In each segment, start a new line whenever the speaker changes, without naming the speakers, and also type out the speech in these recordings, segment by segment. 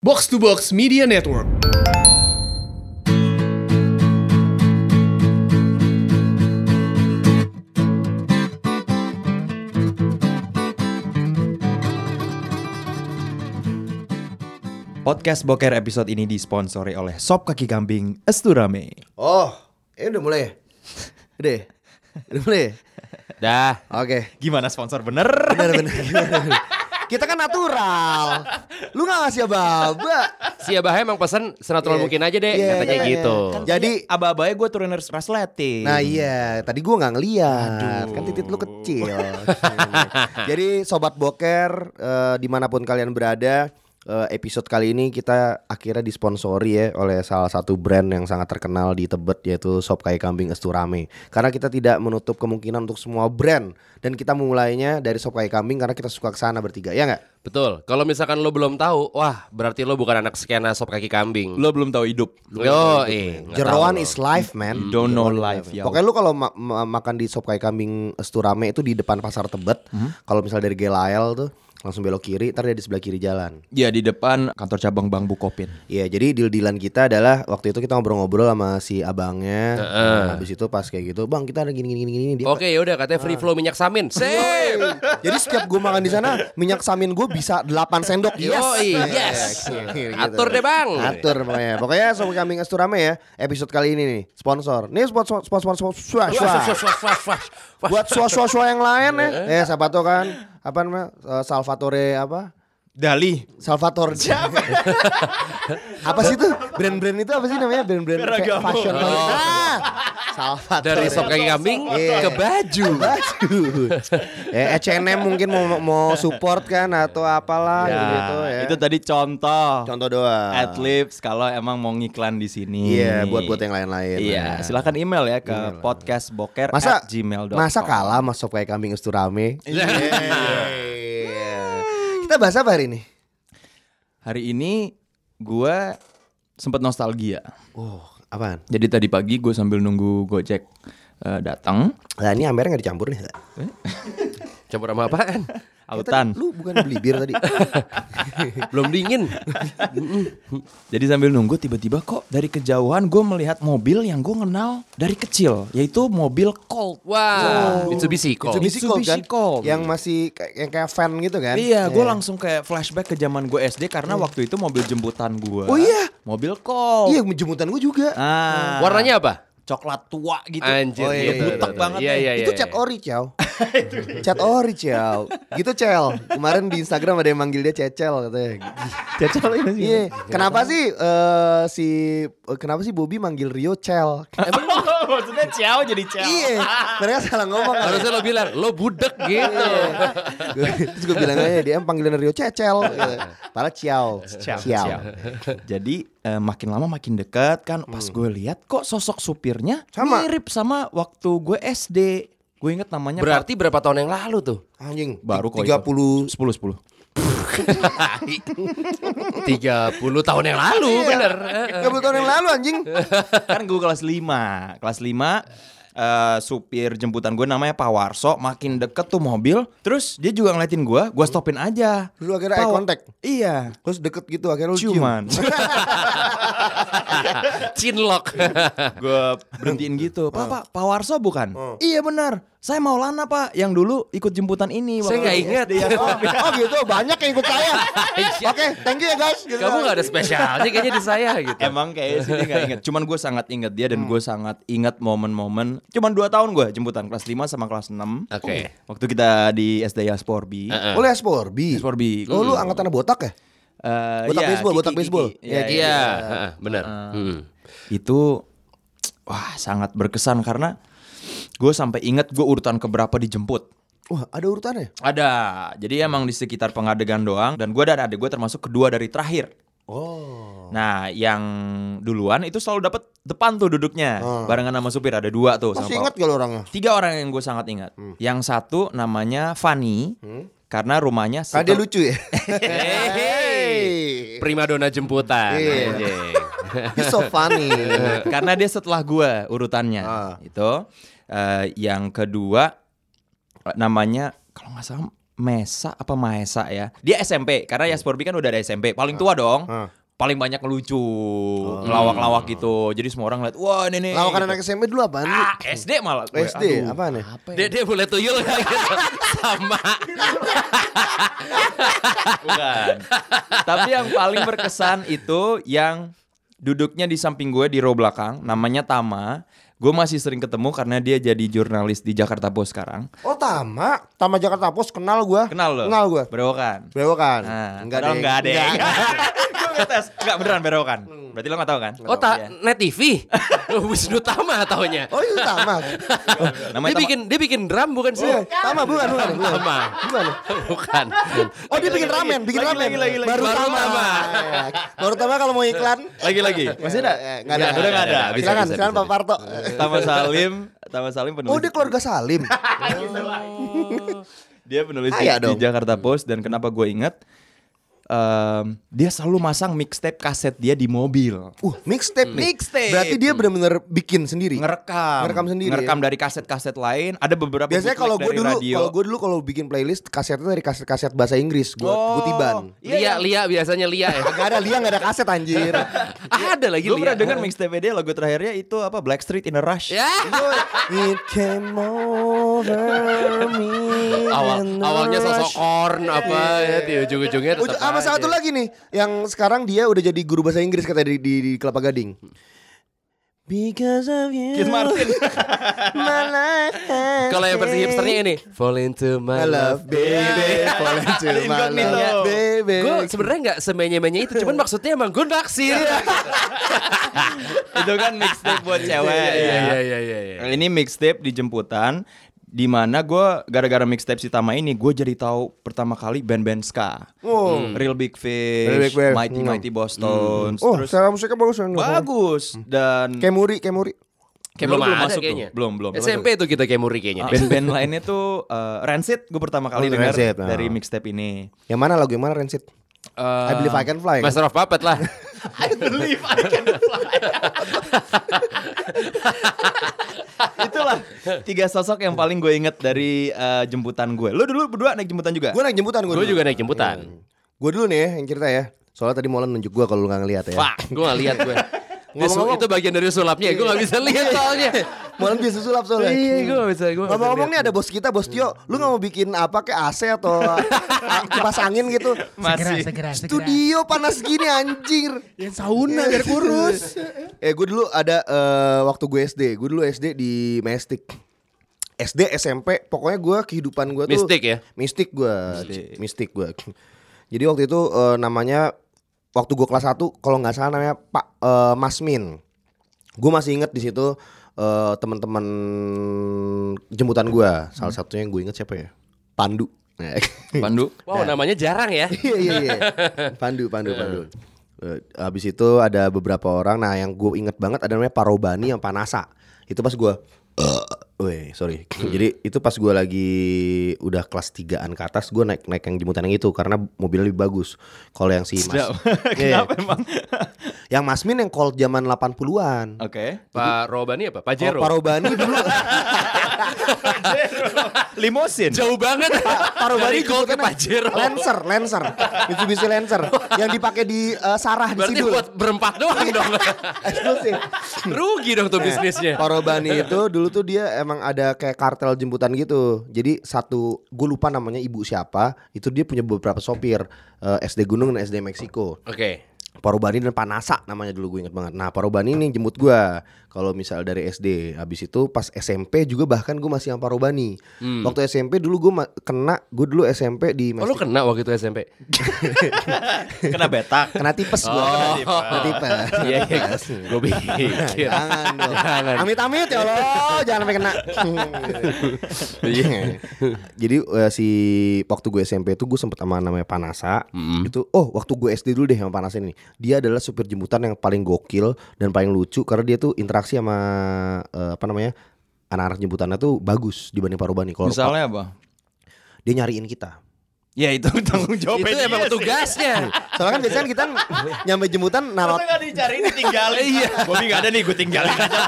Box to Box Media Network.
Podcast Boker episode ini disponsori oleh Sop Kaki Kambing Esturame.
Oh, ini udah mulai ya? Udah ya? Udah mulai ya?
Dah.
Oke.
Gimana sponsor bener?
Benar benar. gimana, gimana? Kita kan natural. Lu gak ngasih apa-apa.
Si Abah emang pesen senatural
Iya.
mungkin aja deh
Iya,
katanya
iya, iya.
gitu.
Kan- Jadi
aba-abanya gue turuner rasleting.
Nah iya, tadi gua nggak ngeliat, kan titik lu kecil. Jadi sobat boker, eh, dimanapun kalian berada, eh, episode kali ini kita akhirnya disponsori ya oleh salah satu brand yang sangat terkenal di Tebet yaitu Sop Kai Kambing Esturame. Karena kita tidak menutup kemungkinan untuk semua brand dan kita mulainya dari Sop Kai Kambing karena kita suka kesana bertiga, ya nggak?
Betul. Kalau misalkan lo belum tahu, wah berarti lo bukan anak skena sop kaki kambing.
Lo belum tahu hidup.
Yo, eh, nggak
Jeroan
tahu lo.
is life, man.
Don't know
Jeroan is
life, ya yo.
Pokoknya lu kalau ma- ma- makan di sop kai kambing Esturame itu di depan pasar Tebet. Kalau misalnya dari Gelael tuh langsung belok kiri, ntar dia di sebelah kiri jalan.
Ya di depan kantor cabang Bang Bukopin.
Iya, jadi deal-dealan kita adalah waktu itu kita ngobrol-ngobrol sama si abangnya. Nah, habis itu pas kayak gitu, "Bang, kita ada gini-gini gini gini." Dia
Oke, yaudah katanya
Ah.
free flow minyak samin. Sip.
Jadi setiap gue makan di sana minyak samin gue bisa 8 sendok. Yes.
Yoi,
Iya,
yes.
iya, iya, gitu.
Atur deh, Bang.
Atur pokoknya. Pokoknya Sobat Kambing Esturame ya. Episode kali ini nih sponsor. Nih sponsor sponsor sponsor swa, swa. Buat swa-swa yang lain ya. Eh siapa tuh kan apa namanya? Eh, Salvatore apa?
Dali.
Salvatore apa sih itu? Brand-brand itu apa sih namanya? Brand-brand fa- fashion. Ah, Salvatore.
Dari sop kaki kambing
Iya.
ke baju.
Aduh. ya H&M mungkin mau mau support kan atau apalah
Ya,
gitu ya.
Itu tadi contoh.
contoh doang.
Adlibs kalau emang mau ngiklan di sini.
Iya, buat-buat yang lain-lain.
Iya,
Nah.
silakan email ya ke podcastboker@gmail.com.
Masa Masa kalah sama sop kayak kambing esturame? Iya. Kita bahas apa hari ini?
Hari ini gue sempet nostalgia.
Oh, apaan?
Jadi tadi pagi gue sambil nunggu Gojek eh, datang,
Lah ini ambernya gak dicampur nih.
Campur sama apaan?
autan.
Ya, Lu bukan beli bir tadi.
Belum dingin.
Jadi sambil nunggu tiba-tiba kok dari kejauhan gue melihat mobil yang gue kenal dari kecil, yaitu mobil Colt.
Wah, Mitsubishi kok.
Mitsubishi Colt kan?
Mitsubishi Colt.
Yang masih kayak- yang kayak fan gitu kan? Iya.
Iya, gue langsung kayak flashback ke zaman gue SD karena waktu itu mobil jemputan gue.
Oh iya?
Mobil Colt.
Iya, jemputan gue juga.
Ah,
Warnanya apa?
coklat tua gitu.
Anjir,
Oh, iya,
gitu.
butek
Betul.
banget
Iya,
nih.
iya,
itu
iya,
cat
iya.
ori ciao cat ori ciao gitu cel kemarin di Instagram ada yang manggil dia cecel katanya
Cecol ini sih.
iya kenapa sih eh, si eh, kenapa sih Bobby manggil Rio cel
Maksudnya ciao jadi ciao.
iya mereka salah ngomong kan?
Harusnya lo bilang, lo budek gitu.
Iya, terus gue bilang aja dia panggilan Rio cecel gitu. padahal ciao ciao,
Jadi eh, makin lama makin dekat kan pas gue lihat kok sosok supirnya
Sama.
mirip sama waktu gue SD. Gue inget namanya
Berarti berapa tahun yang lalu tuh?
anjing
Baru kok itu.
30
10 10.
30 tahun yang lalu,
Iya.
bener.
30 tahun yang lalu anjing
kan gue kelas 5 kelas 5 eh, supir jemputan gue namanya Pak Warso makin deket tuh mobil terus dia juga ngeliatin gue gue
Hmm.
stopin aja
Lu akhirnya eye
Pak-
contact?
iya
terus deket gitu akhirnya lu cium
ciuman
Cinlok.
gue berhentiin gitu
Oh.
pak pak Pak Warso bukan iya benar saya mau lana pak yang dulu ikut jemputan ini
Saya nggak ingat.
oh, oh gitu banyak yang ikut saya oke thank you ya guys Gitu.
Iya. Kamu gak ada spesialnya kayaknya di saya gitu.
Emang kayaknya sih dia gak inget Cuman gue sangat inget dia
Hmm.
Dan gue sangat inget momen-momen Cuman 2 tahun gue jemputan Kelas 5 sama kelas 6
Oke.
Waktu kita di SD Yasporbi
Oh, lu Esporbi.
Esporbi.
Oh, lu angkatan botak ya?
Eh,
Botak
iya,
baseball,
Kiki,
botak baseball.
Kiki.
Iya,
Iya, iya.
Iya, heeh, bener. Hmm.
Itu wah sangat berkesan karena gue sampai inget gue urutan keberapa dijemput.
Wah, ada urutannya.
Ada, jadi emang di sekitar pengadegan doang dan gue dan adik gue termasuk kedua dari terakhir. Oh. Nah, yang duluan itu selalu dapat depan tuh duduknya barengan sama supir ada dua tuh. sama
Masih
Pak-
ingat gak lu orangnya?
Tiga orang yang gue sangat ingat. Yang satu namanya Fanny Hmm. karena rumahnya.
Karena dia lucu ya.
Hey. Primadona jemputan.
Iya.
anjing.
He's so funny.
karena dia setelah gue urutannya
Ah.
itu Eh, yang kedua eh, namanya kalau nggak salah Mesa apa Maesa ya dia SMP karena Yasporbi kan udah ada SMP paling tua dong
Ah. Oh.
paling banyak ngelucu, ngelawak-lawak gitu. Jadi semua orang lihat, wah ini nih.
Lawakan
gitu.
anak SMP dulu apaan? Lu?
Ah, SD malah. gue.
SD
Aduh.
apaan ya?
Dede boleh tuyul gak gitu? Sama.
Bukan. Tapi yang paling berkesan itu yang duduknya di samping gue di row belakang, namanya Tama. Gue masih sering ketemu karena dia jadi jurnalis di Jakarta Post sekarang.
Oh Tama, Tama Jakarta Post kenal gua.
Kenal lo?
Kenal gua. kan?
Berewokan.
Bewokan.
Nah, padahal enggak ada. Gue ngetes. Enggak beneran berewokan.
Hmm.
Berarti lo gak tahu kan?
Oh tak
Iya.
net TV. Wisnu Tama taunya.
Oh itu Tama.
Namanya
Dia
Tama-
bikin dia bikin drum bukan sih?
Oh.
Iya, Tama bukan bukan. bukan.
Tama.
Bukan.
Bukan.
Oh dia bikin ramen, bikin
Lagi,
ramen.
lagi, lagi, lagi.
Baru
Baru
Tama.
Tama.
Iya. Baru Tama kalau mau iklan.
Lagi lagi.
Masih ada? Eh, Enggak ada.
Nggak, Iya, udah nggak ada. Bisa,
Silakan,
bisa,
silakan
bisa.
Pak Parto.
Tama Salim, Tama Salim penulis.
Oh dia keluarga Salim.
Dia penulis
Ah, iya
di
dong.
Jakarta Post dan kenapa gue ingat em, dia selalu masang mixtape kaset dia di mobil.
Uh, mixtape nih.
Mixtape. Hmm.
Berarti dia benar-benar bikin sendiri.
Ngerekam.
Ngerekam sendiri ya?
Ngerekam dari kaset-kaset lain. Ada beberapa
Biasanya
bootleg
kalau gue
dari
dulu,
radio.
kalau gue dulu kalau bikin playlist kasetnya dari kaset-kaset bahasa Inggris, gue
Oh,
kutiban.
Iya, iya.
Lia, Lia biasanya Lia ya.
Gak ada Lia gak ada kaset anjir.
Ada lagi
Gue
Lia.
pernah denger mixtape dia lagu terakhirnya itu apa Blackstreet in a Rush.
Ya.
It came over me. Iya.
Awal
in a
awalnya sosok
rush.
korn apa ya, di ujung-ujungnya tetap.
Udah, Iya. sama
aja.
satu lagi nih yang sekarang dia udah jadi guru bahasa Inggris kata di, di, di Kelapa Gading. Because of you.
Keith Martin.
My life has
Kalau yang versi
changed.
hipsternya ini Iya. Fall into my
I
love
love baby, fall into
Ada
my
incognito.
love baby.
Gue sebenarnya gak semenye-menye itu Cuman maksudnya emang gue naksir
itu kan mixtape buat
iya,
cewek.
iya iya iya.
Ini mixtape di jemputan di mana gue gara-gara mixtape si Tama ini gue jadi tahu pertama kali band-band ska,
Wow.
Real Big Fish,
Real Big Fish.
Mighty
Hmm.
Mighty Boston,
Oh,
terus
secara musiknya bagus.
bagus dan
Kemuri, Kemuri.
Kayak
Belum
belum,
ada
masuk
kayaknya.
kayaknya
Belum, belum.
SMP tuh Ah. kita kayak muri kayaknya
band-band lainnya tuh eh, Rancid gue pertama kali
Oh,
dengar
Rancid, nah.
dari mixtape ini.
Yang mana lagu yang mana
Eh,
Rancid? I believe I can fly.
Master of Puppet lah
I believe I can fly. Itulah tiga sosok yang paling gue inget dari eh, jemputan gue. Lo dulu berdua naik jemputan juga?
Gue naik jemputan gue.
Gue juga naik
Iya,
jemputan
Gue dulu nih ya, yang cerita ya. Soalnya tadi Molan nunjuk gue kalau lu gak ngeliat ya.
Wah gue gak lihat gue
Ngomong-ngomong-
Itu bagian dari sulapnya Gue gak bisa lihat soalnya
Molan biasa sulap soalnya.
Iya gue gak bisa gue nggak bisa
Ngomong-ngomong nih
lihat.
ada bos kita, bos Tio. Lu gak mau bikin apa kayak AC atau a- kipas angin gitu?
segera,
Masih.
segera, segera.
Studio panas gini anjir.
Ya, sauna biar kurus.
Eh gue dulu ada eh, waktu gue SD, gue dulu SD di Mestik. SD, SMP, pokoknya gue kehidupan gue tuh
Mistik ya?
Mistik gue, mistik gue. Jadi waktu itu eh, namanya waktu gue kelas 1 kalau nggak salah namanya Pak eh, Masmin. Gue masih inget di situ eh, teman-teman jemputan gue. Salah
Hmm.
satunya yang gue inget siapa ya? Pandu.
Pandu.
Nah.
Wow namanya jarang ya
Iya iya iya. Pandu Pandu Pandu. Eh, Habis itu ada beberapa orang. Nah yang gue inget banget ada namanya Parobani yang Panasa. Itu pas gue Weh, sorry.
Hmm.
Jadi itu pas gue lagi udah kelas 3-an ke atas, gue naik naik yang jemputan yang itu karena mobilnya lebih bagus. Kalau yang si Mas, Iya,
Kenapa emang?
yang Masmin yang call zaman
Oh,
80-an.
Oke.
Pak Robani apa? Pajero
Kalau Parobani dulu
Limosin.
Jauh banget
Parobani
Dari Gold ke
jemputannya
Pajero
Lancer, Lancer. Mitsubishi Lancer yang dipakai di eh, Sarah di
Berarti
Sidul.
buat berempat doang dong
Eksklusif.
Rugi dong
Nah.
tuh bisnisnya
Parobani itu dulu tuh dia emang ada kayak kartel jemputan gitu. Jadi satu gue lupa namanya ibu siapa, itu dia punya beberapa sopir eh, SD Gunung dan SD Meksiko.
Oke
Parobani dan Panasa namanya dulu gue inget banget. Nah Parobani ini jemput gue kalau misal dari SD. Habis itu pas SMP juga bahkan gue masih yang Parobani. Waktu SMP dulu gue ma- kena gue dulu SMP di
Hmm. Oh lu
Mestik-
kena waktu itu SMP?
Kena betak.
kena tipes gue. Oh. Kena tipes.
Iya, iya.
Kena tipes.
Gue pikir
Jangan dong.
Jangan.
Amit-amit ya Allah, jangan sampai kena.
Iya.
Iya. Jadi eh, si waktu gue SMP itu gue sempet sama namanya Panasa. Itu oh waktu gue SD dulu deh sama Panasa ini. Dia adalah supir jemputan yang paling gokil dan paling lucu karena dia tuh interaksi sama eh, apa namanya? anak-anak jemputannya tuh bagus dibanding Parobani. Kalau
Misalnya apa?
dia nyariin kita.
Ya itu tanggung jawab Iya,
Itu emang tugasnya
Soalnya kan biasanya kita nyampe jemputan narot
nggak dicariin ditinggalin. Iya. Bobby nggak ada nih, gue tinggalin aja.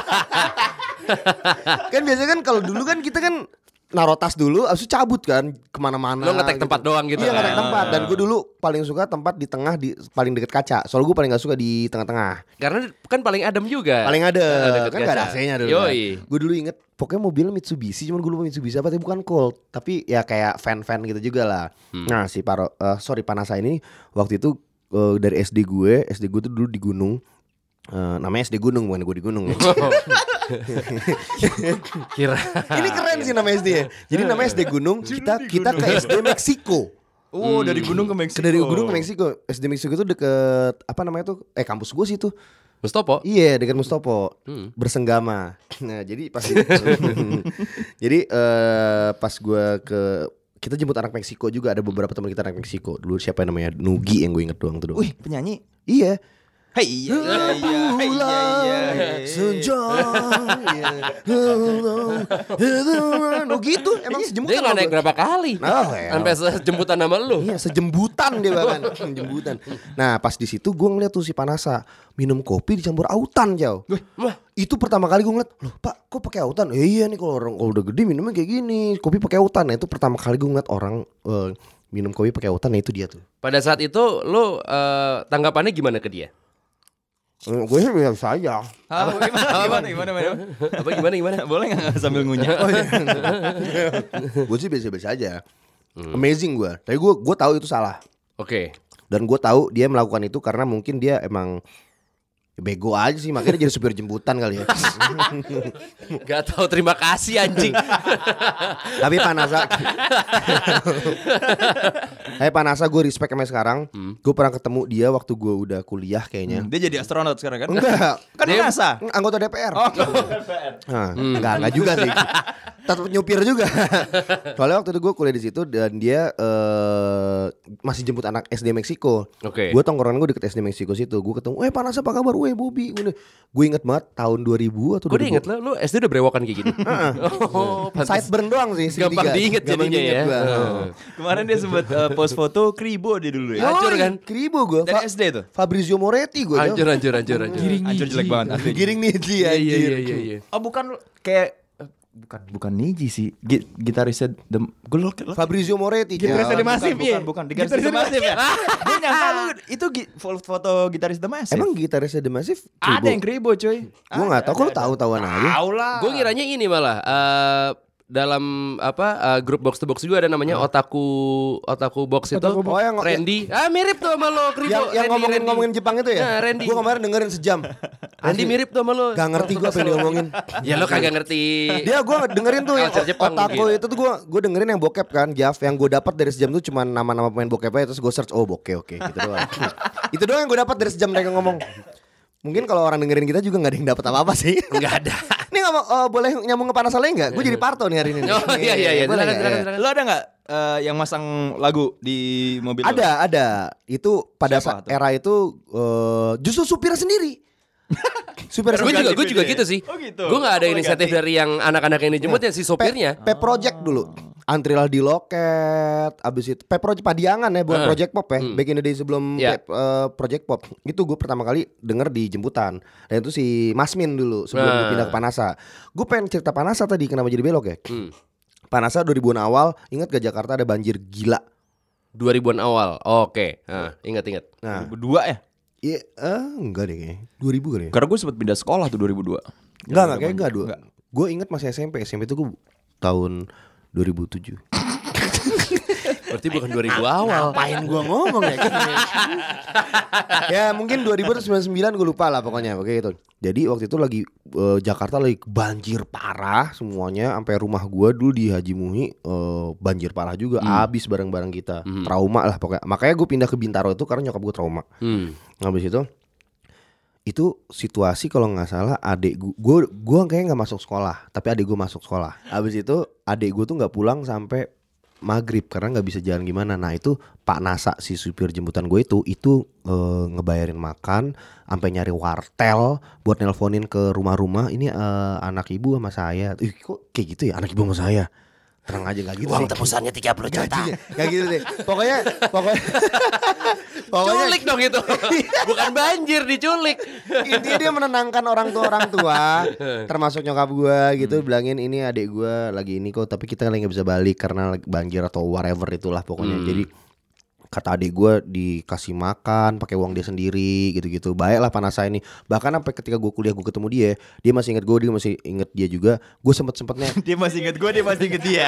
kan biasanya kan kalau dulu kan kita kan naro tas dulu abis itu cabut kan kemana-mana
Lo
gitu.
ngetek tempat doang gitu.
Iya
kan?
ngetek tempat dan gue dulu paling suka tempat di tengah di paling deket kaca. Soalnya gue paling gak suka di tengah-tengah.
Karena kan paling adem juga.
Paling ada
Eh, deket
kan gak ada
kaca.
AC-nya dulu.
Yoi.
Gue dulu inget pokoknya mobil Mitsubishi cuman gue lupa Mitsubishi apa tapi bukan Colt tapi ya kayak fan-fan gitu juga lah.
Hmm.
Nah si Paro eh, sorry Panasa ini waktu itu eh, dari SD gue SD gue tuh dulu di gunung. Eh, namanya SD Gunung bukan gue di gunung ya.
Oh. Kira.
Ini keren sih nama SD ya. Jadi namanya SD Gunung, kita kita ke SD Meksiko.
Oh, dari gunung ke Meksiko.
Dari gunung ke Meksiko. SD Meksiko itu deket apa namanya tuh? Eh kampus gue sih tuh.
Mustopo.
Iya dekat Mustopo.
Hmm.
Bersenggama. Nah jadi pas jadi eh, pas gue ke kita jemput anak Meksiko juga ada beberapa teman kita anak Meksiko. Dulu siapa yang namanya Nugi yang gue inget doang tuh doang.
Wih, penyanyi.
Iya.
Hei, iya, iya, iya, iya, iya, iya.
Iya. Oh gitu emang sejemur
Dia nggak naik berapa kali.
Oh, ya.
Sampai sejemputan sama lu.
Iya sejembutan dia bahkan Sejembutan Nah pas di situ gue ngeliat tuh si Panasa Minum kopi dicampur autan jauh
Wah.
Itu pertama kali gue ngeliat Loh pak kok pakai autan "Ya Iya nih kalau orang kalau udah gede minumnya kayak gini Kopi pakai autan Nah itu pertama kali gue ngeliat orang eh, Minum kopi pakai autan Nah itu dia tuh
Pada saat itu lu eh, tanggapannya gimana ke dia?
Eh, Gue sih biasa aja
Ah, gimana, gimana, gimana, gimana?
Apa gimana gimana?
Boleh nggak sambil ngunyah?
Gue sih biasa-biasa aja Amazing gue Tapi gue gue tahu itu salah
Oke.
Dan gue tahu dia melakukan itu karena mungkin dia emang Bego aja sih makanya dia jadi supir jemputan kali ya
Gak tau terima kasih anjing.
Tapi Panasa Tapi Panasa gue respect sama sekarang
Hmm.
Gue pernah ketemu dia waktu gue udah kuliah kayaknya
Dia jadi astronot sekarang kan?
Enggak
Kan
Dia-
NASA.
Anggota DPR
Oh,
Nah,
Hmm.
Enggak, enggak juga sih Tetap nyupir juga Soalnya waktu itu gue kuliah di situ Dan dia eh, masih jemput anak SD Meksiko
Oke.
Gue tongkrongan gue deket SD Meksiko situ Gue ketemu, eh Panasa apa kabar? Weh Bobby Gue inget banget tahun 2000 atau
Gue udah
2000
inget lu, lu SD udah berewokan kayak gini. oh, pantes.
Sideburn doang sih
Gampang
segitiga.
diinget
Gampang
jadinya
diinget
ya.
gua.
Heeh.
Kemarin dia sempat eh, post foto kribo dia dulu ya.
Hancur
Yoi,
kan?
Keribu gue
Dari SD tuh.
Fabrizio Moretti gue
Hancur, hancur, hancur, hancur.
Anjir jelek banget. asli.
Giring nih dia
Iya, iya,
anjir.
iya, iya, iya.
Oh, bukan kayak eh, bukan bukan Niji sih. Gi- Gitarisnya dem gue lo
Fabrizio Moretti
Gitarisnya
jalan.
The Massive,
Ya, bukan,
iya.
bukan, bukan, gitaris
Gitarisnya
The Massive ya. Gue nyangka lu itu gi- fo- foto gitaris The Massive.
Emang gitarisnya The Massive
ada yang kribo coy.
Gue gak tau Kok lu tahu-tahuan aja
Tahu lah.
Gue ngiranya ini malah eh, dalam apa eh, grup box to box juga ada namanya otaku otaku box itu
Otaku Box. Oh, yang-
Randy ah mirip tuh sama lo Kribo
Yang, yang
Randy,
ngomongin
Randy.
ngomongin Jepang itu ya
Nah, Randy
Gue kemarin dengerin sejam
Randy mirip tuh sama lo
Gak ngerti gue apa yang dia ngomongin
ya lo kagak ngerti
Dia gue dengerin tuh yang
Culture Jepang
Otako
mungkin.
itu tuh gue gue dengerin yang bokep kan Jaf yang gue dapat dari sejam tuh cuman nama-nama pemain bokep aja terus gue search oh bokeh oke gitu doang itu doang yang gue dapat dari sejam mereka ngomong mungkin kalau orang dengerin kita juga nggak ada yang dapat apa-apa sih
nggak ada
ini
Iya,
nggak mau eh, boleh nyambung ke panas lain nggak gue jadi parto nih hari ini nih.
oh iya iya iya
Ya,
Boleh
silakan
nggak?
silakan
Iya.
silakan
Lo ada nggak eh, yang masang lagu di mobil? lo?
Ada, ada. Itu pada
Siapa
saat
tuh?
era itu eh, justru supir sendiri. supir
gue
sendiri.
juga gue
ganti
juga
beda ya?
gitu sih
Oh, gitu.
gue nggak ada
Boleh
inisiatif
ganti.
dari yang anak-anak ini jemput
Nah.
ya si sopirnya
P, P Project dulu. Antrilah di loket, abis itu P Project Padiangan ya, bukan
Heeh.
Project Pop ya. Back in the day sebelum
Iya.
P- eh, Project Pop. Itu gue pertama kali denger di jemputan. Dan itu si Masmin dulu sebelum
Nah.
dia pindah ke Panasa. Gue pengen cerita Panasa tadi kenapa jadi belok ya.
hmm.
Panasa 2000-an awal, ingat gak Jakarta ada banjir gila.
2000-an awal oke ah, ingat ingat
Nah,
Berdua ya.
iya, eh, enggak deh kayaknya. 2000 kali ya.
Karena gue sempat pindah sekolah tuh 2002.
Enggak, enggak, kayaknya enggak dua. Gue inget masih SMP, SMP itu gue tahun 2007.
berarti bukan 2000 awal
Ngapain gue ngomong ya? ya mungkin 2099 gue lupa lah pokoknya Oke gitu. Jadi waktu itu lagi eh, Jakarta lagi banjir parah semuanya sampai rumah gue dulu di Haji Muhi eh, banjir parah juga habis barang-barang kita trauma lah pokoknya makanya gue pindah ke Bintaro itu karena nyokap gue trauma
hmm.
habis itu itu situasi kalau nggak salah adik gue gue kayaknya nggak masuk sekolah tapi adik gue masuk sekolah habis itu adik gue tuh nggak pulang sampai maghrib karena nggak bisa jalan gimana nah itu pak nasa si supir jemputan gue itu itu eh, ngebayarin makan sampai nyari wartel buat nelponin ke rumah-rumah ini eh, anak ibu sama saya Ih, kok kayak gitu ya anak ibu sama saya Terang aja gak gitu sih.
Uang tebusannya 30 juta.
Gajinya, Gak gitu deh. Pokoknya pokoknya pokoknya
Culik dong itu. Bukan banjir diculik.
intinya dia menenangkan orang tua orang tua termasuk nyokap gua
Hmm.
gitu bilangin ini adik gua lagi ini kok tapi kita lagi nggak bisa balik karena lagi banjir atau whatever itulah pokoknya
Hmm.
jadi kata adik gua dikasih makan pakai uang dia sendiri gitu-gitu baiklah panasa ini bahkan sampai ketika gua kuliah gua ketemu dia dia masih inget gua dia masih inget dia juga gue sempet sempetnya
Dia masih inget gue, dia masih inget dia.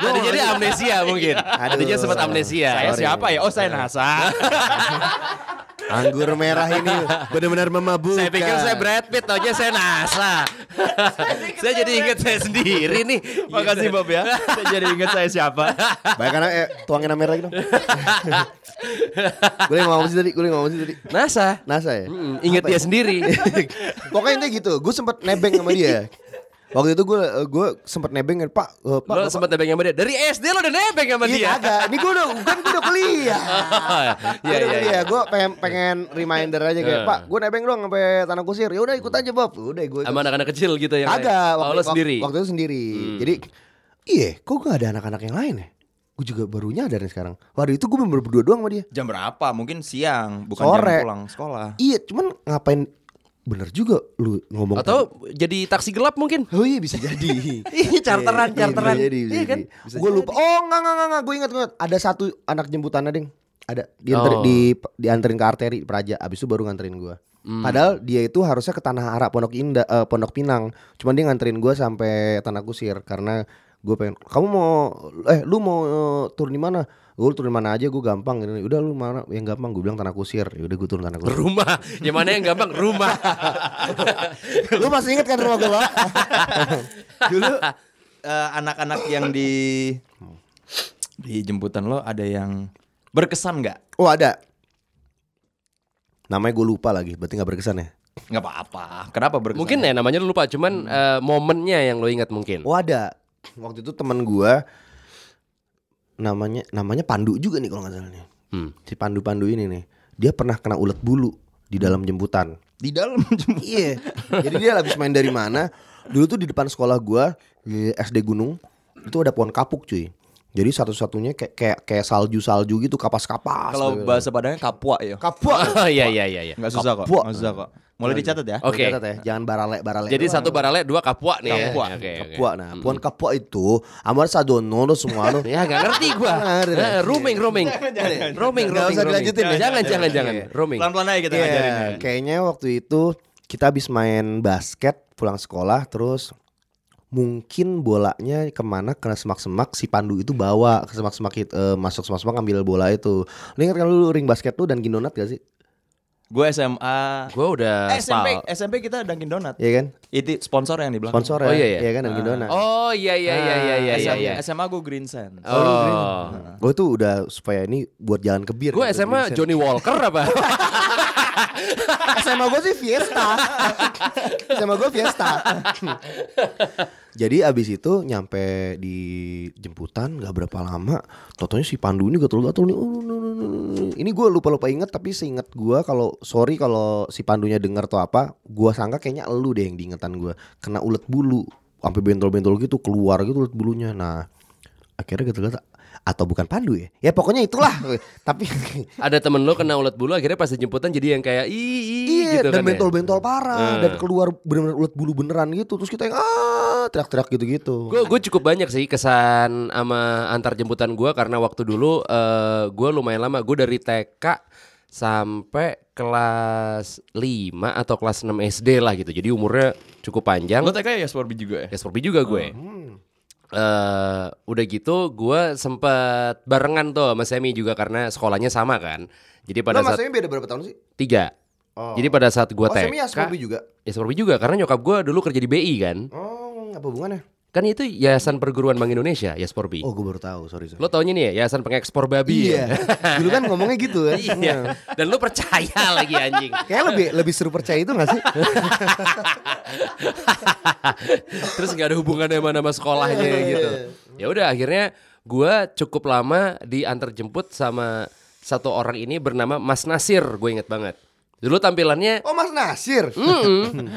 Tadi jadi amnesia mungkin. Tadi
Aduh.
jadi sempat amnesia.
saya
Sorry.
siapa ya? Oh saya NASA.
anggur merah ini benar-benar memabukkan
Saya pikir saya Brad Pitt, taunya saya NASA. saya jadi ingat saya sendiri nih.
Makasih Bob ya. Saya jadi inget saya siapa.
Baik karena eh, tuangin sama merah gitu. gue yang ngomong sih tadi, gue yang ngomong sih tadi.
NASA.
NASA ya?
Mm, ingat dia sendiri.
Pokoknya intinya gitu, gue sempet nebeng sama dia. Waktu itu gue gue sempet nebeng Pak, eh, Pak,
lo
Bapak-
sempat nebeng sama dia. Dari SD lo udah nebeng sama
Iya,
dia.
kagak. Ini gue udah, kan gue udah kuliah. Gua
Iya,
udah
Eh. iya,
kuliah. Gue pengen, pengen reminder aja kayak Pak, gue nebeng dong sampai tanah kusir. Ya udah ikut aja Bob. Udah gue.
Sama anak-anak kecil gitu ya.
Kagak.
Oh,
waktu-
lo sendiri. Hmm.
Waktu itu sendiri. Jadi, iya, kok gak ada anak-anak yang lain ya? Gue juga baru nyadar nih sekarang. Waktu itu gue bener berdua doang sama dia.
Jam berapa? Mungkin siang, bukan
Sore.
jam pulang sekolah.
Iya, cuman ngapain? Bener juga lu ngomong.
Atau jadi taksi gelap mungkin.
Oh iya bisa jadi.
Iya, charteran,
Iya,
charteran.
Bisa jadi, bisa
Iya kan?
jadi. Gue lupa. Oh enggak enggak enggak, enggak. gue ingat gue ingat. Ada satu anak jemputannya deng. Ada dianter-
Oh.
di dianterin ke arteri Praja. Abis itu baru nganterin gue. Padahal dia itu harusnya ke Tanah Arak Pondok Indah, eh, Pondok Pinang. Cuman dia nganterin gue sampai Tanah Kusir karena gue pengen. Kamu mau eh lu mau eh, turun di mana? Gue turun di mana aja gue gampang. Gini, Udah lu mana yang gampang? Gue bilang Tanah Kusir. Ya udah gue turun Tanah Kusir.
Rumah. Yang mana yang gampang? Rumah.
lu masih inget kan rumah gue? Pak?
Dulu eh, anak-anak yang di di jemputan lo ada yang berkesan nggak?
Oh ada. Namanya gue lupa lagi. Berarti nggak berkesan ya?
Nggak apa-apa. Kenapa berkesan?
mungkin ya namanya lu lupa. Cuman
Hmm.
eh, momennya yang lo ingat mungkin.
Oh ada. Waktu itu teman gua namanya namanya Pandu juga nih kalau nggak salah nih.
Hmm.
Si Pandu-Pandu ini nih, dia pernah kena ulet bulu di dalam jemputan.
di dalam jemputan.
Iya. Jadi dia habis main dari mana? Dulu tuh di depan sekolah gua di SD Gunung itu ada pohon kapuk cuy. Jadi satu-satunya kayak kayak kayak salju-salju gitu kapas-kapas.
Kalau
Gitu.
bahasa Padangnya kapua ya.
kapuk.
Oh iya iya iya. iya.
Nggak susah kok.
Kapua.
Nggak susah kok. Mulai dicatat ya.
Oke.
Catat ya, jangan barale-barale.
Jadi
doang.
satu barale, dua kapua nih ya.
Kapua.
Oke, Hmm. oke.
Kapua. Nah, pohon kapua itu amar sadono lu semua lu.
Ya gak ngerti gua.
Ngerti, ngerti.
Eh, Roaming, roaming. Roaming, roaming.
Nggak usah dilanjutin ya.
Jangan, jangan, jangan.
Iya.
Roaming.
Pelan-pelan aja kita
Iya,
ngajarin ya.
Kayaknya waktu itu kita habis main basket pulang sekolah terus mungkin bolanya kemana ke semak-semak si Pandu itu bawa ke semak-semak itu, eh, masuk semak-semak ngambil bola itu. Lu ingat kan lu ring basket tuh dan gindonat gak sih?
Gue SMA.
Gua udah
Eh, SMP,
spal.
SMP kita Dunkin Donat.
Iya kan?
Itu sponsor yang di belakang.
Sponsor ya.
Oh, iya, iya.
kan dan gindonat.
Oh iya iya iya iya
Ah,
iya iya.
SMA,
iya.
SMA gue Green Sand.
Oh.
Gue tuh udah supaya ini buat jalan ke bir.
Gue
kan,
SMA
Green Sen.
Johnny Walker apa?
SMA gue sih Fiesta SMA gue Fiesta Jadi abis itu nyampe di jemputan gak berapa lama Totonya si Pandu ini gatel-gatel nih "Oh, no, no, no, no." Ini gue lupa-lupa inget tapi seinget gue kalau Sorry kalau si Pandunya denger atau apa Gue sangka kayaknya elu deh yang diingetan gue Kena ulet bulu Sampai bentol-bentol gitu keluar gitu ulet bulunya Nah akhirnya gatel-gatel Atau bukan Pandu ya Ya pokoknya itulah Tapi
Ada temen lo kena ulat bulu akhirnya pas dijemputan jadi yang kayak ih ih
Iya,
gitu
dan
kan. ya? Ah.
bentol-bentol parah dan keluar benar-benar ulet bulu beneran gitu. Terus kita yang ah teriak-teriak gitu-gitu.
Gue gue cukup banyak sih kesan sama antar jemputan gue karena waktu dulu eh gue lumayan lama gue dari TK sampai kelas 5 atau kelas 6 SD lah gitu jadi umurnya cukup panjang
Lo TK ya Sporby juga ya?
ya Sporby juga gue
Hmm.
eh udah gitu gue sempet barengan tuh sama Semi juga karena sekolahnya sama kan jadi pada
Pada
saat
beda berapa tahun sih?
tiga
Oh.
jadi pada saat gue
oh,
TK
Sammy ya Scorpio juga.
ya Sporby juga karena nyokap gue dulu kerja di BI kan
Oh, apa hubungannya?
kan itu Yayasan Perguruan Bank Indonesia ya Sporby
Oh, gue baru tahu, sorry. sorry.
Lo taunya nih ya, yayasan pengekspor babi
iya.
ya?
Dulu kan ngomongnya gitu kan.
iya. Dan lo percaya lagi anjing.
Kayaknya lebih lebih seru percaya itu gak sih?
Terus nggak ada hubungannya sama nama sekolahnya
Iya.
gitu. Ya udah akhirnya gua cukup lama diantar jemput sama satu orang ini bernama Mas Nasir, gue inget banget. Dulu tampilannya
Oh Mas Nasir.
mm-mm.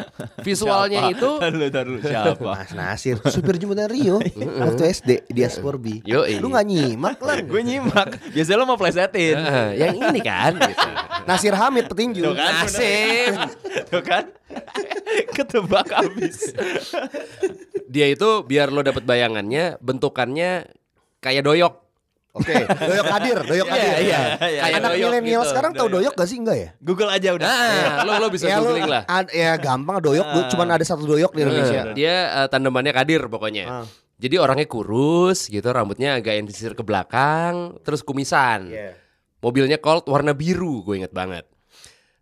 visualnya itu
Taruh, taruh, siapa?
Mas Nasir, supir jemputan Rio waktu SD di Asporbi.
Yoi.
Lu nggak nyimak lan.
Gue nyimak. Biasanya lo mau plesetin.
eh, yang ini kan gitu.
Nasir Hamid petinju.
Tuh kan,
Nasib.
Tuh kan? Ketebak habis.
Dia itu biar lo dapet bayangannya bentukannya kayak doyok.
Oke, doyok hadir, doyok
Iya,
hadir.
iya.
Kayak
Anak
doyok
milenial
gitu,
sekarang tahu doyok gak sih enggak ya?
Google aja udah.
Nah, lo lo bisa
ya, lu-
googling lah. Ah.
ad- ya gampang doyok, gua- cuman ada satu doyok di Indonesia.
Eh, Dia eh, tandemannya Kadir pokoknya.
Iya. Ah.
Jadi orangnya kurus gitu, rambutnya agak entisir ke belakang, terus kumisan. Mobilnya Colt warna biru, gue inget banget.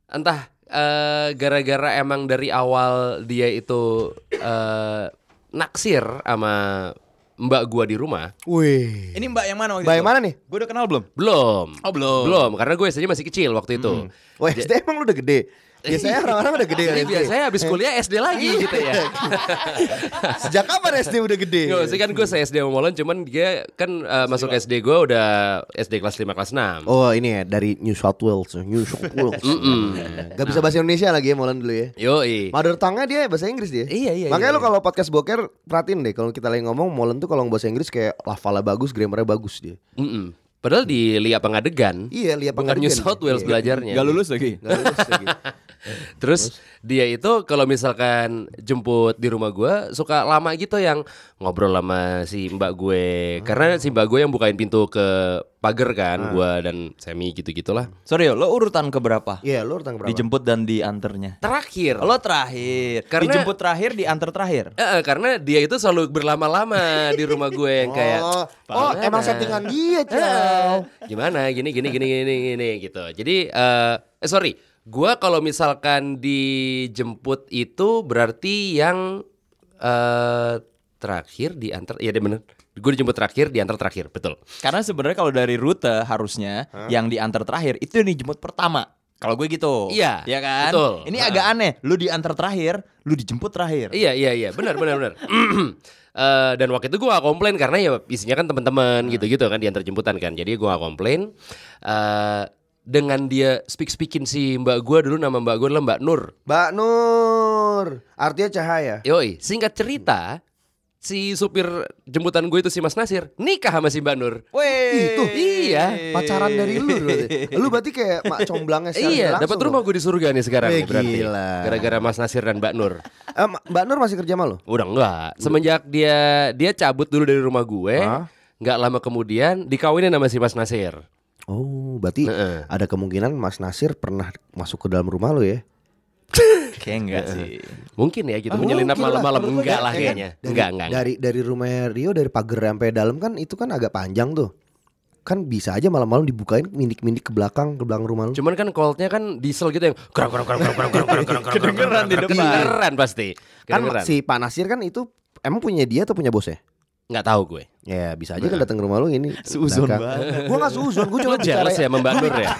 Entah eh, gara-gara emang dari awal dia itu eh, naksir sama mbak gua di rumah.
Wih.
Ini mbak yang mana waktu
Mbak yang mana nih?
Gue udah kenal belum?
Belum.
Oh, belum.
Belum, karena gue SD masih kecil waktu itu.
Wah, SD emang lu udah gede. Biasanya orang-orang udah gede kan, kali ya. Eh. SD.
Jadi Iya. biasanya habis kuliah SD lagi gitu ya.
Sejak kapan SD udah gede?
Nggak sih kan gue se-SD sama Molan Cuman dia kan eh, masuk SD gue udah SD kelas 5 kelas 6
Oh ini ya dari New South Wales New South Wales Gak bisa bahasa Indonesia lagi ya Molan dulu ya
Yoi
Mother tongue-nya dia bahasa Inggris dia
Iya, iya,
Makanya
iya,
lo kalau podcast boker Perhatiin deh kalau kita lagi ngomong Molan tuh kalau bahasa Inggris kayak Lafala bagus, grammarnya bagus dia
Mm-mm. Padahal di Lia Pengadegan
Iya lihat
Bukan New South Wales
Iya.
belajarnya
Gak lulus lagi.
Gak lulus lagi
Terus dia itu kalau misalkan jemput di rumah gue Suka lama gitu yang ngobrol sama si mbak gue
Ah.
Karena si mbak gue yang bukain pintu ke pagar kan gua Gue dan Semi gitu-gitulah
Sorry, lo urutan keberapa?
Iya lo tanggal berapa?
Dijemput dan diantarnya.
Terakhir
Lo terakhir.
Karena-
Dijemput terakhir, diantar terakhir.
Eh, eh, Karena dia itu selalu berlama-lama di rumah gue yang kayak
Oh, oh
"Gimana?"
emang settingan dia
Eh,
Cal
gimana gini gini gini gini gini gitu jadi eh eh, sorry gua kalau misalkan dijemput itu berarti yang eh terakhir diantar ya dia bener gue dijemput terakhir diantar terakhir betul
Karena sebenarnya kalau dari rute harusnya yang diantar terakhir itu yang dijemput pertama. Kalau gue gitu.
Iya,
Iya kan?
betul.
Ini
Ha.
agak aneh. Lu diantar terakhir, lu dijemput terakhir.
iya iya iya benar benar benar Eh, dan waktu itu gua gak komplain karena ya isinya kan
Nah.
teman-teman gitu-gitu kan diantar jemputan kan jadi gua gak komplain Eh dengan dia speak speakin si mbak gua dulu nama mbak gua adalah mbak Nur
Mbak Nur Artinya cahaya
Yoi, singkat cerita si supir jemputan gue itu si Mas Nasir nikah sama si Mbak Nur.
Weh.
Itu
Iya.
Pacaran dari lu berarti Lu berarti kayak mak comblangnya secara
iya,
langsung
dapat
dong.
rumah gue di surga nih sekarang
Wih,
nih berarti.
gila.
Gara-gara Mas Nasir dan Mbak Nur.
Eh, Ma- Mbak Nur masih kerja sama lo?
Udah enggak. Semenjak dia dia cabut dulu dari rumah gue,
Hah?
nggak lama kemudian dikawinin sama si Mas Nasir.
Oh, berarti
Heeh.
ada kemungkinan Mas Nasir pernah masuk ke dalam rumah lo ya?
Kayak enggak sih.
Mungkin ya gitu
Ah,
menyelinap
mungkin lah.
malam-malam
Menurut gue
enggak
ya,
lah
ya kan?
kayaknya.
Dari,
Enggak, enggak. enggak.
Dari dari rumah Rio dari pagar sampai dalam kan itu kan agak panjang tuh. Kan bisa aja malam-malam dibukain mindik-mindik ke belakang ke belakang rumah lo.
Cuman kan coldnya kan diesel gitu yang kerang kerang kerang kerang kerang kerang kerang kerang kerang
Kedengeran di depan.
Kedengeran pasti.
Kan
Kedengeran.
si Pak Nasir kan itu emang punya dia atau punya bosnya?
Enggak tahu gue.
Ya bisa aja
Nah.
kan datang ke rumah lo ini.
Seuzon
banget. Gua gak seuzon, gua cuma
Lo jealous
bicara.
ya sama Mbak Nur ya?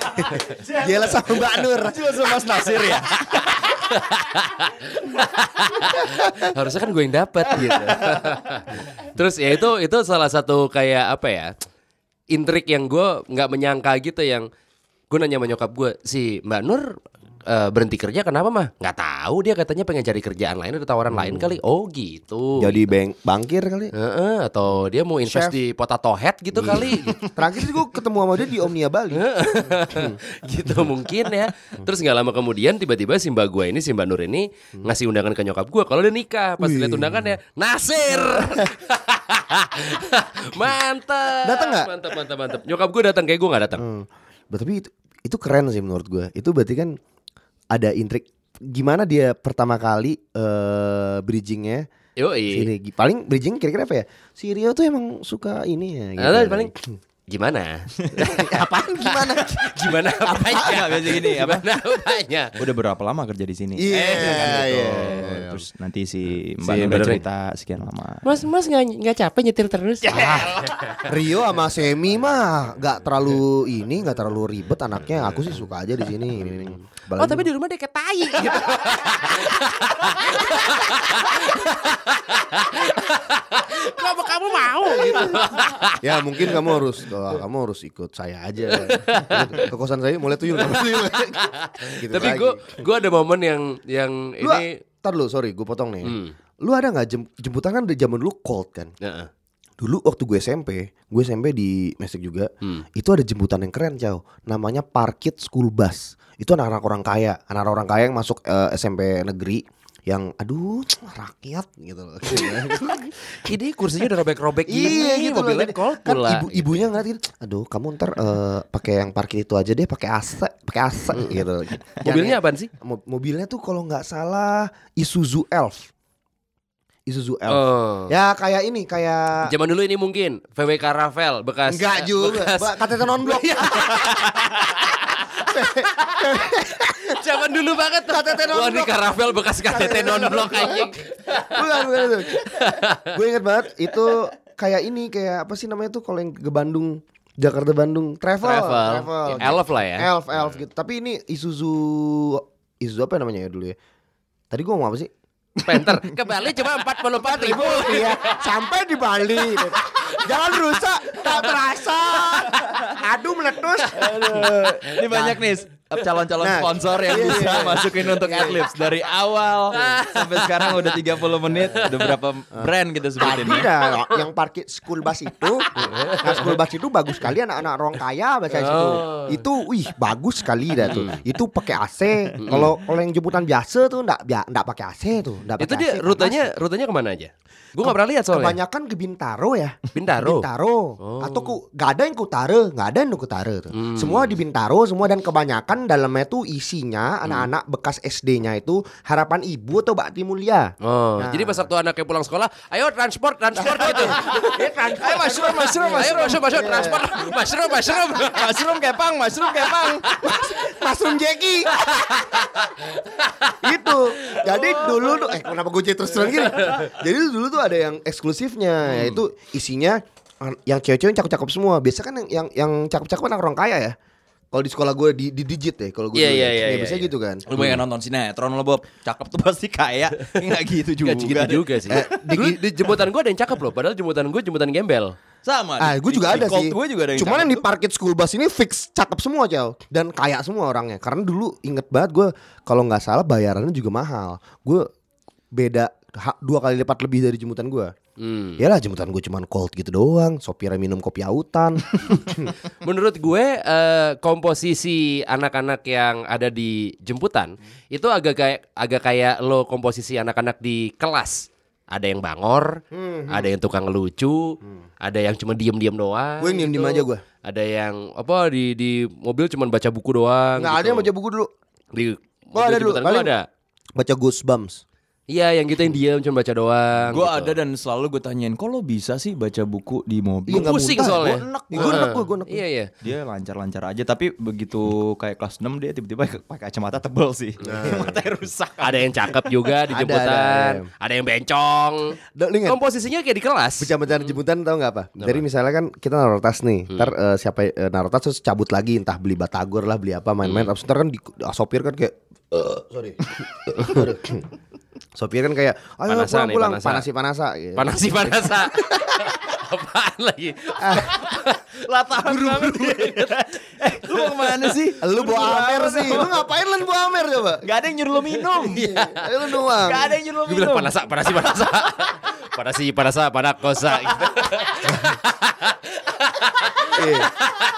Jelas sama Mbak Nur.
Mas Nasir ya.
harusnya kan gue yang dapat gitu. Terus ya itu itu salah satu kayak apa ya intrik yang gue nggak menyangka gitu yang gue nanya sama nyokap gue si Mbak Nur eh, berhenti kerja kenapa mah nggak tahu dia katanya pengen cari kerjaan lain ada tawaran lain kali oh gitu
Hmm. Jadi bang bangkir kali.
Heeh, atau dia mau invest
Chef. Iya.
di potato head gitu kali
Terakhir sih gua ketemu sama dia di Omnia Bali.
gitu mungkin ya terus nggak lama kemudian tiba-tiba si mbak gue ini si mbak Nur ini ngasih undangan ke nyokap gue kalau dia nikah pas lihat undangannya Nasir mantap
Datang nggak?
mantap mantap mantap nyokap gue datang kayak gue nggak datang
Hmm. Bah, Tapi itu, itu keren sih menurut gue. Itu berarti kan ada intrik gimana dia pertama kali eh bridgingnya.
Iya. yoi
Sini. Paling bridging kira-kira apa ya? Si Rio tuh emang suka ini ya.
Nah, paling gimana
apaan gimana?
gimana apanya
Nggak, biasa gini, apa?
gimana apanya
Udah berapa lama kerja di sini?
Iya,
Eh, kan gitu.
iya.
Terus nanti si Mbak
Si
Nur
Mbak Nur.
cerita sekian lama.
Mas, mas nggak nggak capek nyetir terus?
Rio sama Semi mah nggak terlalu ini, nggak terlalu ribet anaknya. Aku sih suka aja di sini. Ini, ini. Apalagi-
Oh, tapi di rumah dia kayak tai gitu. Kenapa kamu mau? gitu.
ya mungkin kamu harus kalau kamu harus ikut saya aja ke kosan saya mulai tuyul mulai tuyul. gitu
Tapi gue gue ada momen yang yang
Lu-
ini
tar lu sorry gue potong nih
Hmm.
lu ada nggak jem- jemputan kan dari zaman dulu cold kan
Heeh.
dulu waktu gue SMP gue SMP di Mesik juga
Hmm.
itu ada jemputan yang keren cow namanya parkit school bus itu anak-anak orang kaya anak-anak orang kaya yang masuk eh, SMP negeri yang aduh rakyat gitu loh
Ini kursinya udah robek-robek
Iya,
gini,
gitu loh.
mobilnya
Jadi,
cold gitu.
kan
pula.
ibu ibunya ngeliatin aduh kamu ntar eh, pakai yang parkir itu aja deh pakai AC pakai AC gitu
Hmm. Mobilnya apaan sih?
Mo- mobilnya tuh kalau nggak salah Isuzu Elf Isuzu Elf
Oh.
ya kayak ini kayak
Zaman dulu ini mungkin VWK Rafael bekas Eh, Iya.
enggak juga Ba- KTT non blok
Zaman dulu banget
KTT non-blok.
Wah, ini Kak Rafael bekas KTT non blok anjing.
bukan bukan itu gue inget banget itu kayak ini kayak apa sih namanya tuh kalau yang ke Bandung Jakarta Bandung travel
Travel. Elf lah ya.
Elf, elf gitu. Tapi ini Isuzu Isuzu apa namanya ya dulu ya? Tadi gua ngomong apa sih?
Penter ke Bali cuma 44 ribu.
iya, sampai di Bali. Jangan rusak, tak terasa. Aduh meletus.
Ini banyak nih calon-calon
Nah.
sponsor yang
Iya,
bisa
iya.
masukin untuk Adlibs dari awal sampai sekarang udah 30 menit udah berapa brand kita sebutin
Tadi
ya.
nah, yang parkir school bus itu, nah school bus itu bagus sekali anak-anak orang kaya baca situ.
Oh.
Itu, wih bagus sekali dah tuh.
Hmm.
Itu pakai AC. Kalau kalau yang jemputan biasa tuh ndak ya, ndak pakai AC tuh. Ndak pakai
Itu
AC,
dia
panas.
rutenya rutenya kemana aja? Gue gak pernah lihat soalnya.
Kebanyakan ke Bintaro ya.
Bintaro.
Bintaro.
Oh. Hmm.
Atau ku, gak ada yang ke Utara, gak ada yang ke Utara tuh. Semua di Bintaro, semua dan kebanyakan dalamnya tuh isinya
Hmm.
anak-anak bekas SD-nya itu harapan ibu atau bakti mulia.
Oh,
Nah.
jadi pas waktu anaknya pulang sekolah, ayo transport, transport gitu.
Ayo mushroom, mushroom, Iya.
ayo masuk, masuk, transport, mushroom, mushroom.
Mushroom kepang, mushroom kepang.
Mushroom Jackie. itu. Jadi
Oh,
dulu tuh eh kenapa gue jadi terus terang gini? Jadi dulu tuh ada yang
Hmm.
eksklusifnya yaitu isinya an- yang cewek-cewek yang cakep-cakep semua. Biasa kan yang yang, yang cakep-cakep anak orang kaya ya. Kalau di sekolah gue di, di digit ya kalau gue
Iya,
dulu
iya,
ya.
iya,
Ya,
iya,
biasanya
iya.
gitu kan.
Lu banyak nonton sinetron lo Bob. Cakep tuh pasti kaya. Enggak gitu juga.
Gak gitu juga sih.
Eh,
Dulu di jemputan gue ada yang cakep loh, padahal jemputan gue jemputan gembel.
Sama.
Ah, gue juga ada sih.
Gue juga ada yang
Cuman yang
cakep
di parkit school bus ini fix cakep semua jauh dan kaya semua orangnya. Karena dulu inget banget gue kalau nggak salah bayarannya juga mahal. Gue beda ha- dua kali lipat lebih dari jemputan gue.
Hmm.
Yalah jemputan gue cuman cold gitu doang. Sopirnya minum kopi autan.
Menurut gue eh, komposisi anak-anak yang ada di jemputan
Hmm.
itu agak kayak agak kayak lo komposisi anak-anak di kelas. Ada yang bangor,
Hmm,
ada yang tukang lucu, ada yang cuma diem-diem doang.
Gue yang diem-diem
gitu.
aja gue.
Ada yang apa di di mobil cuma baca buku doang. gitu.
Nggak ada yang baca buku dulu.
di
Oh,
mobil
ada dulu.
jemputan gue
Paling-
ada.
Baca Goosebumps.
Iya, yang gitu yang diem cuma baca doang.
Gue
gitu.
ada dan selalu gue tanyain, kok lo bisa sih baca buku di mobil?
Iya, nggak muntah.
pusing soalnya.
Gue enek, gue enek, gue, gue enek.
Iya, iya.
Dia lancar-lancar aja, tapi begitu kayak kelas 6 dia tiba-tiba pakai kacamata tebel sih. Matanya rusak.
Ada yang cakep juga
Ada, ada,
di jemputan,
ada.
ada yang bencong.
Da- lu ingat?
Komposisinya kayak di kelas.
Bercanda-bercanda jemputan tau gak apa? Dari misalnya kan kita naruh tas nih,
Hmm.
ntar eh, siapa eh, naruh tas terus cabut lagi, entah beli batagor lah, beli apa main-main.
Hmm.
Terus ntar kan di, ah, sopir kan kayak, eh, sorry, sopir kan kayak, ayo
Panasa nih,
pulang-pulang,
panasa.
panasi panasa. Gitu.
Iya. Panasi panasa. Apaan lagi? Latar guru
eh, lu mau kemana sih?
Lu bawa amer sih, lu ngapain lu bawa amer coba?
Gak ada yang nyuruh lo minum.
Ayo lu doang.
Gak ada yang nyuruh lo
Gue
minum.
bilang panasa, panasi panasa. panasi panasa, panakosa. Gitu.
Iya.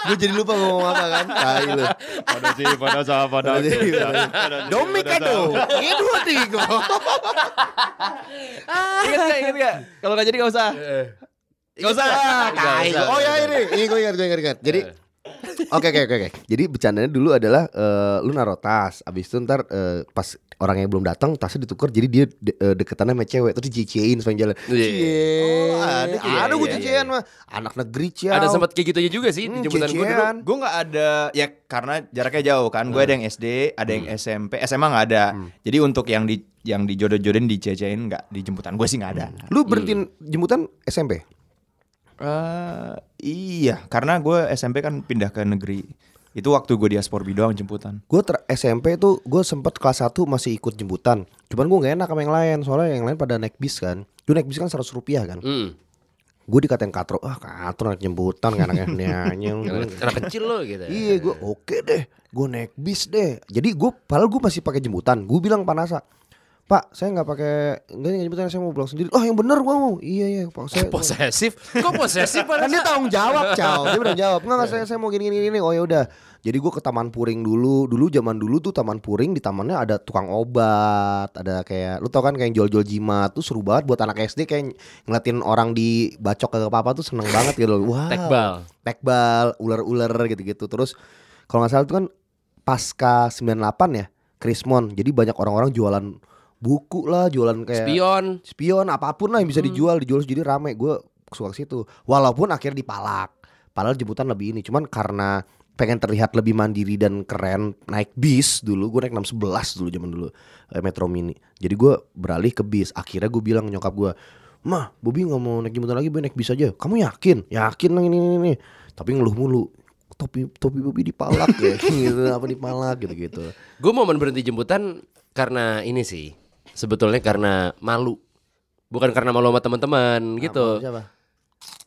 Gue jadi lupa ngomong apa kan? Tai lu.
Panasi, panasa,
Panasi, panasa. Domikado, itu tigo.
Ingat gak, ingat gak? Kalau gak jadi gak usah.
Iya,
Gak usah.
Tai. Oh ya ini, ini gue ingat, gue ingat, ingat. Jadi
Iya.
Oke oke oke oke. Jadi bercandanya dulu adalah eh, lu naruh tas, abis itu ntar eh, pas orang yang belum datang tasnya ditukar jadi dia de- eh, deketan sama cewek terus diciein sepanjang jalan.
Iya.
Cie. ada,
iya,
ada gue
iya,
ciciein mah. Anak negeri ciao.
Ada sempat kayak gitunya juga sih di
iya. Hmm,
jemputan gue dulu.
cecean.
Gue gak Kan ada, ya karena jaraknya jauh kan. Gue ada yang SD, ada yang SMP, SMA gak ada. Jadi untuk yang di yang dijodoh-jodohin, dicecein gak di jemputan gue sih gak ada.
Lu berhenti
Hmm.
jemputan SMP.
Eh, iya, karena gue SMP kan pindah ke negeri. Itu waktu gue diaspor doang jemputan.
Gue ter SMP tuh gue sempet kelas 1 masih ikut jemputan. Cuman gue gak enak sama yang lain soalnya yang lain pada naik bis kan. Lu naik bis kan 100 rupiah kan.
Hmm.
gue dikatain katro ah katro anak jemputan kan anaknya nyanyi
Anak kecil lo gitu.
Hmm. Iya gue oke deh Gue naik bis deh Jadi gue Padahal gue masih pakai jemputan Gue bilang Pak Nasa Pak saya nggak pakai Nggak nggak jemputan Saya mau pulang sendiri Oh yang bener gue mau Iya iya Pak saya
Eh, Posesif. Kok posesif
Kan
pada
dia tanggung jawab Cao Dia bertanggung jawab Nggak nggak saya, saya mau gini gini gini Oh yaudah Jadi gue ke Taman Puring dulu Dulu zaman dulu tuh Taman Puring Di tamannya ada tukang obat Ada kayak Lu tau kan kayak yang jual-jual jimat Tuh seru banget buat anak SD Kayak ngeliatin orang dibacok kagak apa-apa tuh seneng banget gitu loh. Wow
Tekbal.
tekbal, ular-ular gitu-gitu. Terus kalau nggak salah itu kan pasca 98 ya, Krismon. Jadi banyak orang-orang jualan buku lah, jualan kayak
Spion.
spion, apapun lah yang bisa dijual, dijual jadi rame. Gue suka ke situ. Walaupun akhirnya dipalak. Padahal jemputan lebih ini, cuman karena pengen terlihat lebih mandiri dan keren naik bis dulu gue naik 611 dulu zaman dulu eh, metro mini jadi gue beralih ke bis akhirnya gue bilang nyokap gue mah Bobi nggak mau naik jemputan lagi Bobi naik bis aja kamu yakin yakin lah ini ini, ini. tapi ngeluh mulu topi topi Bobi dipalak ya gitu apa dipalak gitu gitu
Gue momen berhenti jemputan karena ini sih. Sebetulnya karena malu. Bukan karena malu sama teman-teman gitu.
siapa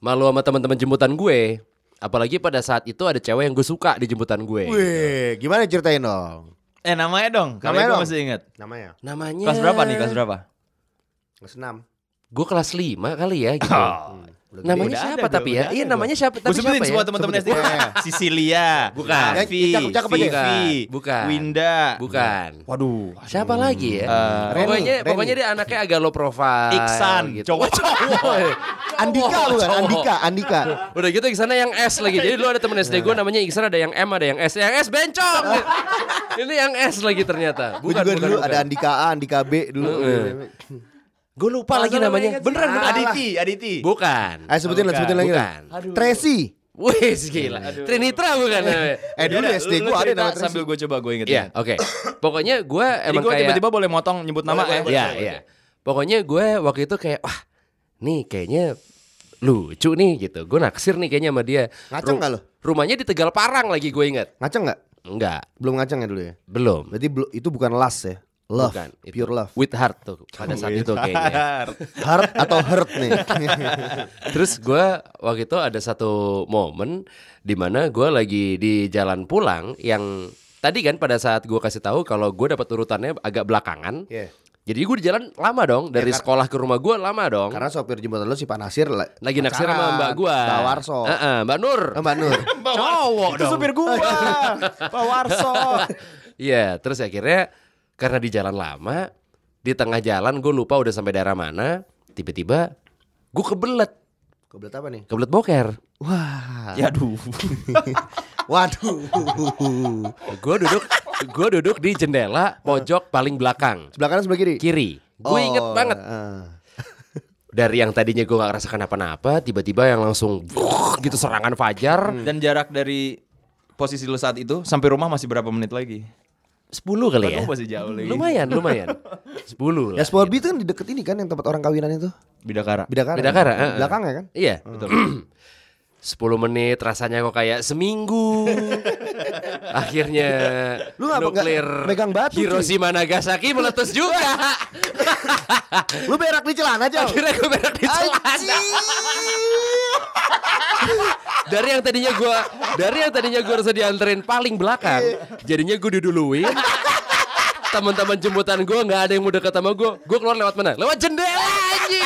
Malu sama teman-teman jemputan gue. Apalagi pada saat itu ada cewek yang gue suka di jemputan gue.
Wih, gimana ceritain dong
Eh namanya dong,
Namanya
namanya
dong.
masih inget.
namanya
Namanya.
Kelas berapa nih, kelas berapa?
Mas Nam
Gue kelas 5 kali ya gitu.
Ah.
namanya
Udah ada
siapa
dong,
tapi
udah
ya?
ada
Iya
dong.
namanya siapa
Gue
tapi
sebutin
siapa ya?
semua teman-teman SD. Sicilia,
Bukan. Eh,
Vivi,
Yang cakep-cakep aja.
Vivi,
Bukan.
Winda,
Bukan.
Waduh,
Siapa lagi ya?
Eh, Reni,
pokoknya
Reni.
pokoknya dia anaknya agak low profile.
Iksan,
gitu.
cowok-cowok.
Andika
Cowok,
bukan
cowok.
Andika Andika
Udah gitu Iksannya yang S lagi. Jadi dulu ada temen SD gue namanya Iksan ada yang M ada yang S. Yang S bencong. Ini yang S lagi ternyata.
gue
Bukan
juga
bukan,
dulu
bukan.
ada Andika A Andika B dulu
Gue lupa lagi namanya. Beneran bukan
Aditi, Aditi.
Bukan.
ayo Eh, sebutin lah
Bukan,
sebutin lagi lah
bukan.
Tracy
Wih gila. Trinitra bukan. namanya.
eh dulu
Yaudah,
SD
lu- lu
gue ada
cerita
nama Tracy
sambil gue coba gue inget.
Iya, oke. Pokoknya gue
Jadi
emang
gue
kayak
tiba-tiba boleh motong nyebut nama
eh.
ya.
Iya, iya. Pokoknya gue waktu itu kayak wah, nih kayaknya lucu nih gitu. Gue naksir nih kayaknya sama dia.
Ngaco nggak lo?
Rumahnya di Tegal Parang lagi gue inget.
ngaceng nggak
Enggak,
belum ngaceng ya dulu ya
belum.
berarti belu- itu bukan last ya love
Bukan, itu.
pure love
With heart tuh pada saat itu kayaknya.
heart atau hurt nih
Terus gue waktu itu ada satu momen di mana gue lagi di jalan pulang yang tadi kan pada saat gue kasih tahu kalau gue dapat urutannya agak belakangan.
Iya. Ya,
Jadi gue di jalan lama dong dari sekolah ke rumah gue lama dong.
karena sopir jembatan lo si Panasir la-
lagi naksir sama
pacaran.
mbak gua.
Mbak Warso
Heeh, Mbak Nur.
Eh, mbak Nur
Cowok
Itu supir gue. Pak Warso.
Iya, terus akhirnya karena di jalan lama, di tengah jalan gue lupa udah sampai daerah mana, tiba-tiba gue kebelet,
kebelet apa nih
kebelet boker.
wah
Ya aduh.
waduh
Gue duduk, gue duduk di jendela pojok paling belakang
sebelah kanan sebelah kiri
kiri.
Oh,
Gue inget banget
eh.
dari yang tadinya gue gak ngerasa kenapa-napa, tiba-tiba yang langsung gitu serangan fajar
Dan jarak dari posisi lu saat itu sampai rumah masih berapa menit lagi?
10 kali
Kan
ya.
masih jauh lagi.
Lumayan, lumayan. 10 lah.
Ya Sport itu kan di deket ini kan yang tempat orang kawinan itu.
Bidakara.
Bidakara.
Bidakara,
Di
eh, eh.
Belakangnya kan.
Iya, betul. 10 menit rasanya kok kayak seminggu. Akhirnya
Lu ngapa nggak
nuklir
megang batu, cuy?
Hiroshima Nagasaki meletus juga.
Lu berak di celana aja.
Akhirnya gue berak di celana. Dari yang tadinya gue dari yang tadinya gue harus dianterin paling belakang, jadinya gue diduluin. Teman-teman jemputan gue nggak ada yang mau deket sama gue. Gue keluar lewat mana? Lewat jendela anjing.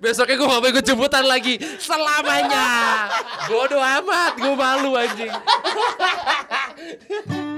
Besoknya gue gak mau ikut jemputan lagi selamanya. Bodoh amat, gue malu anjing.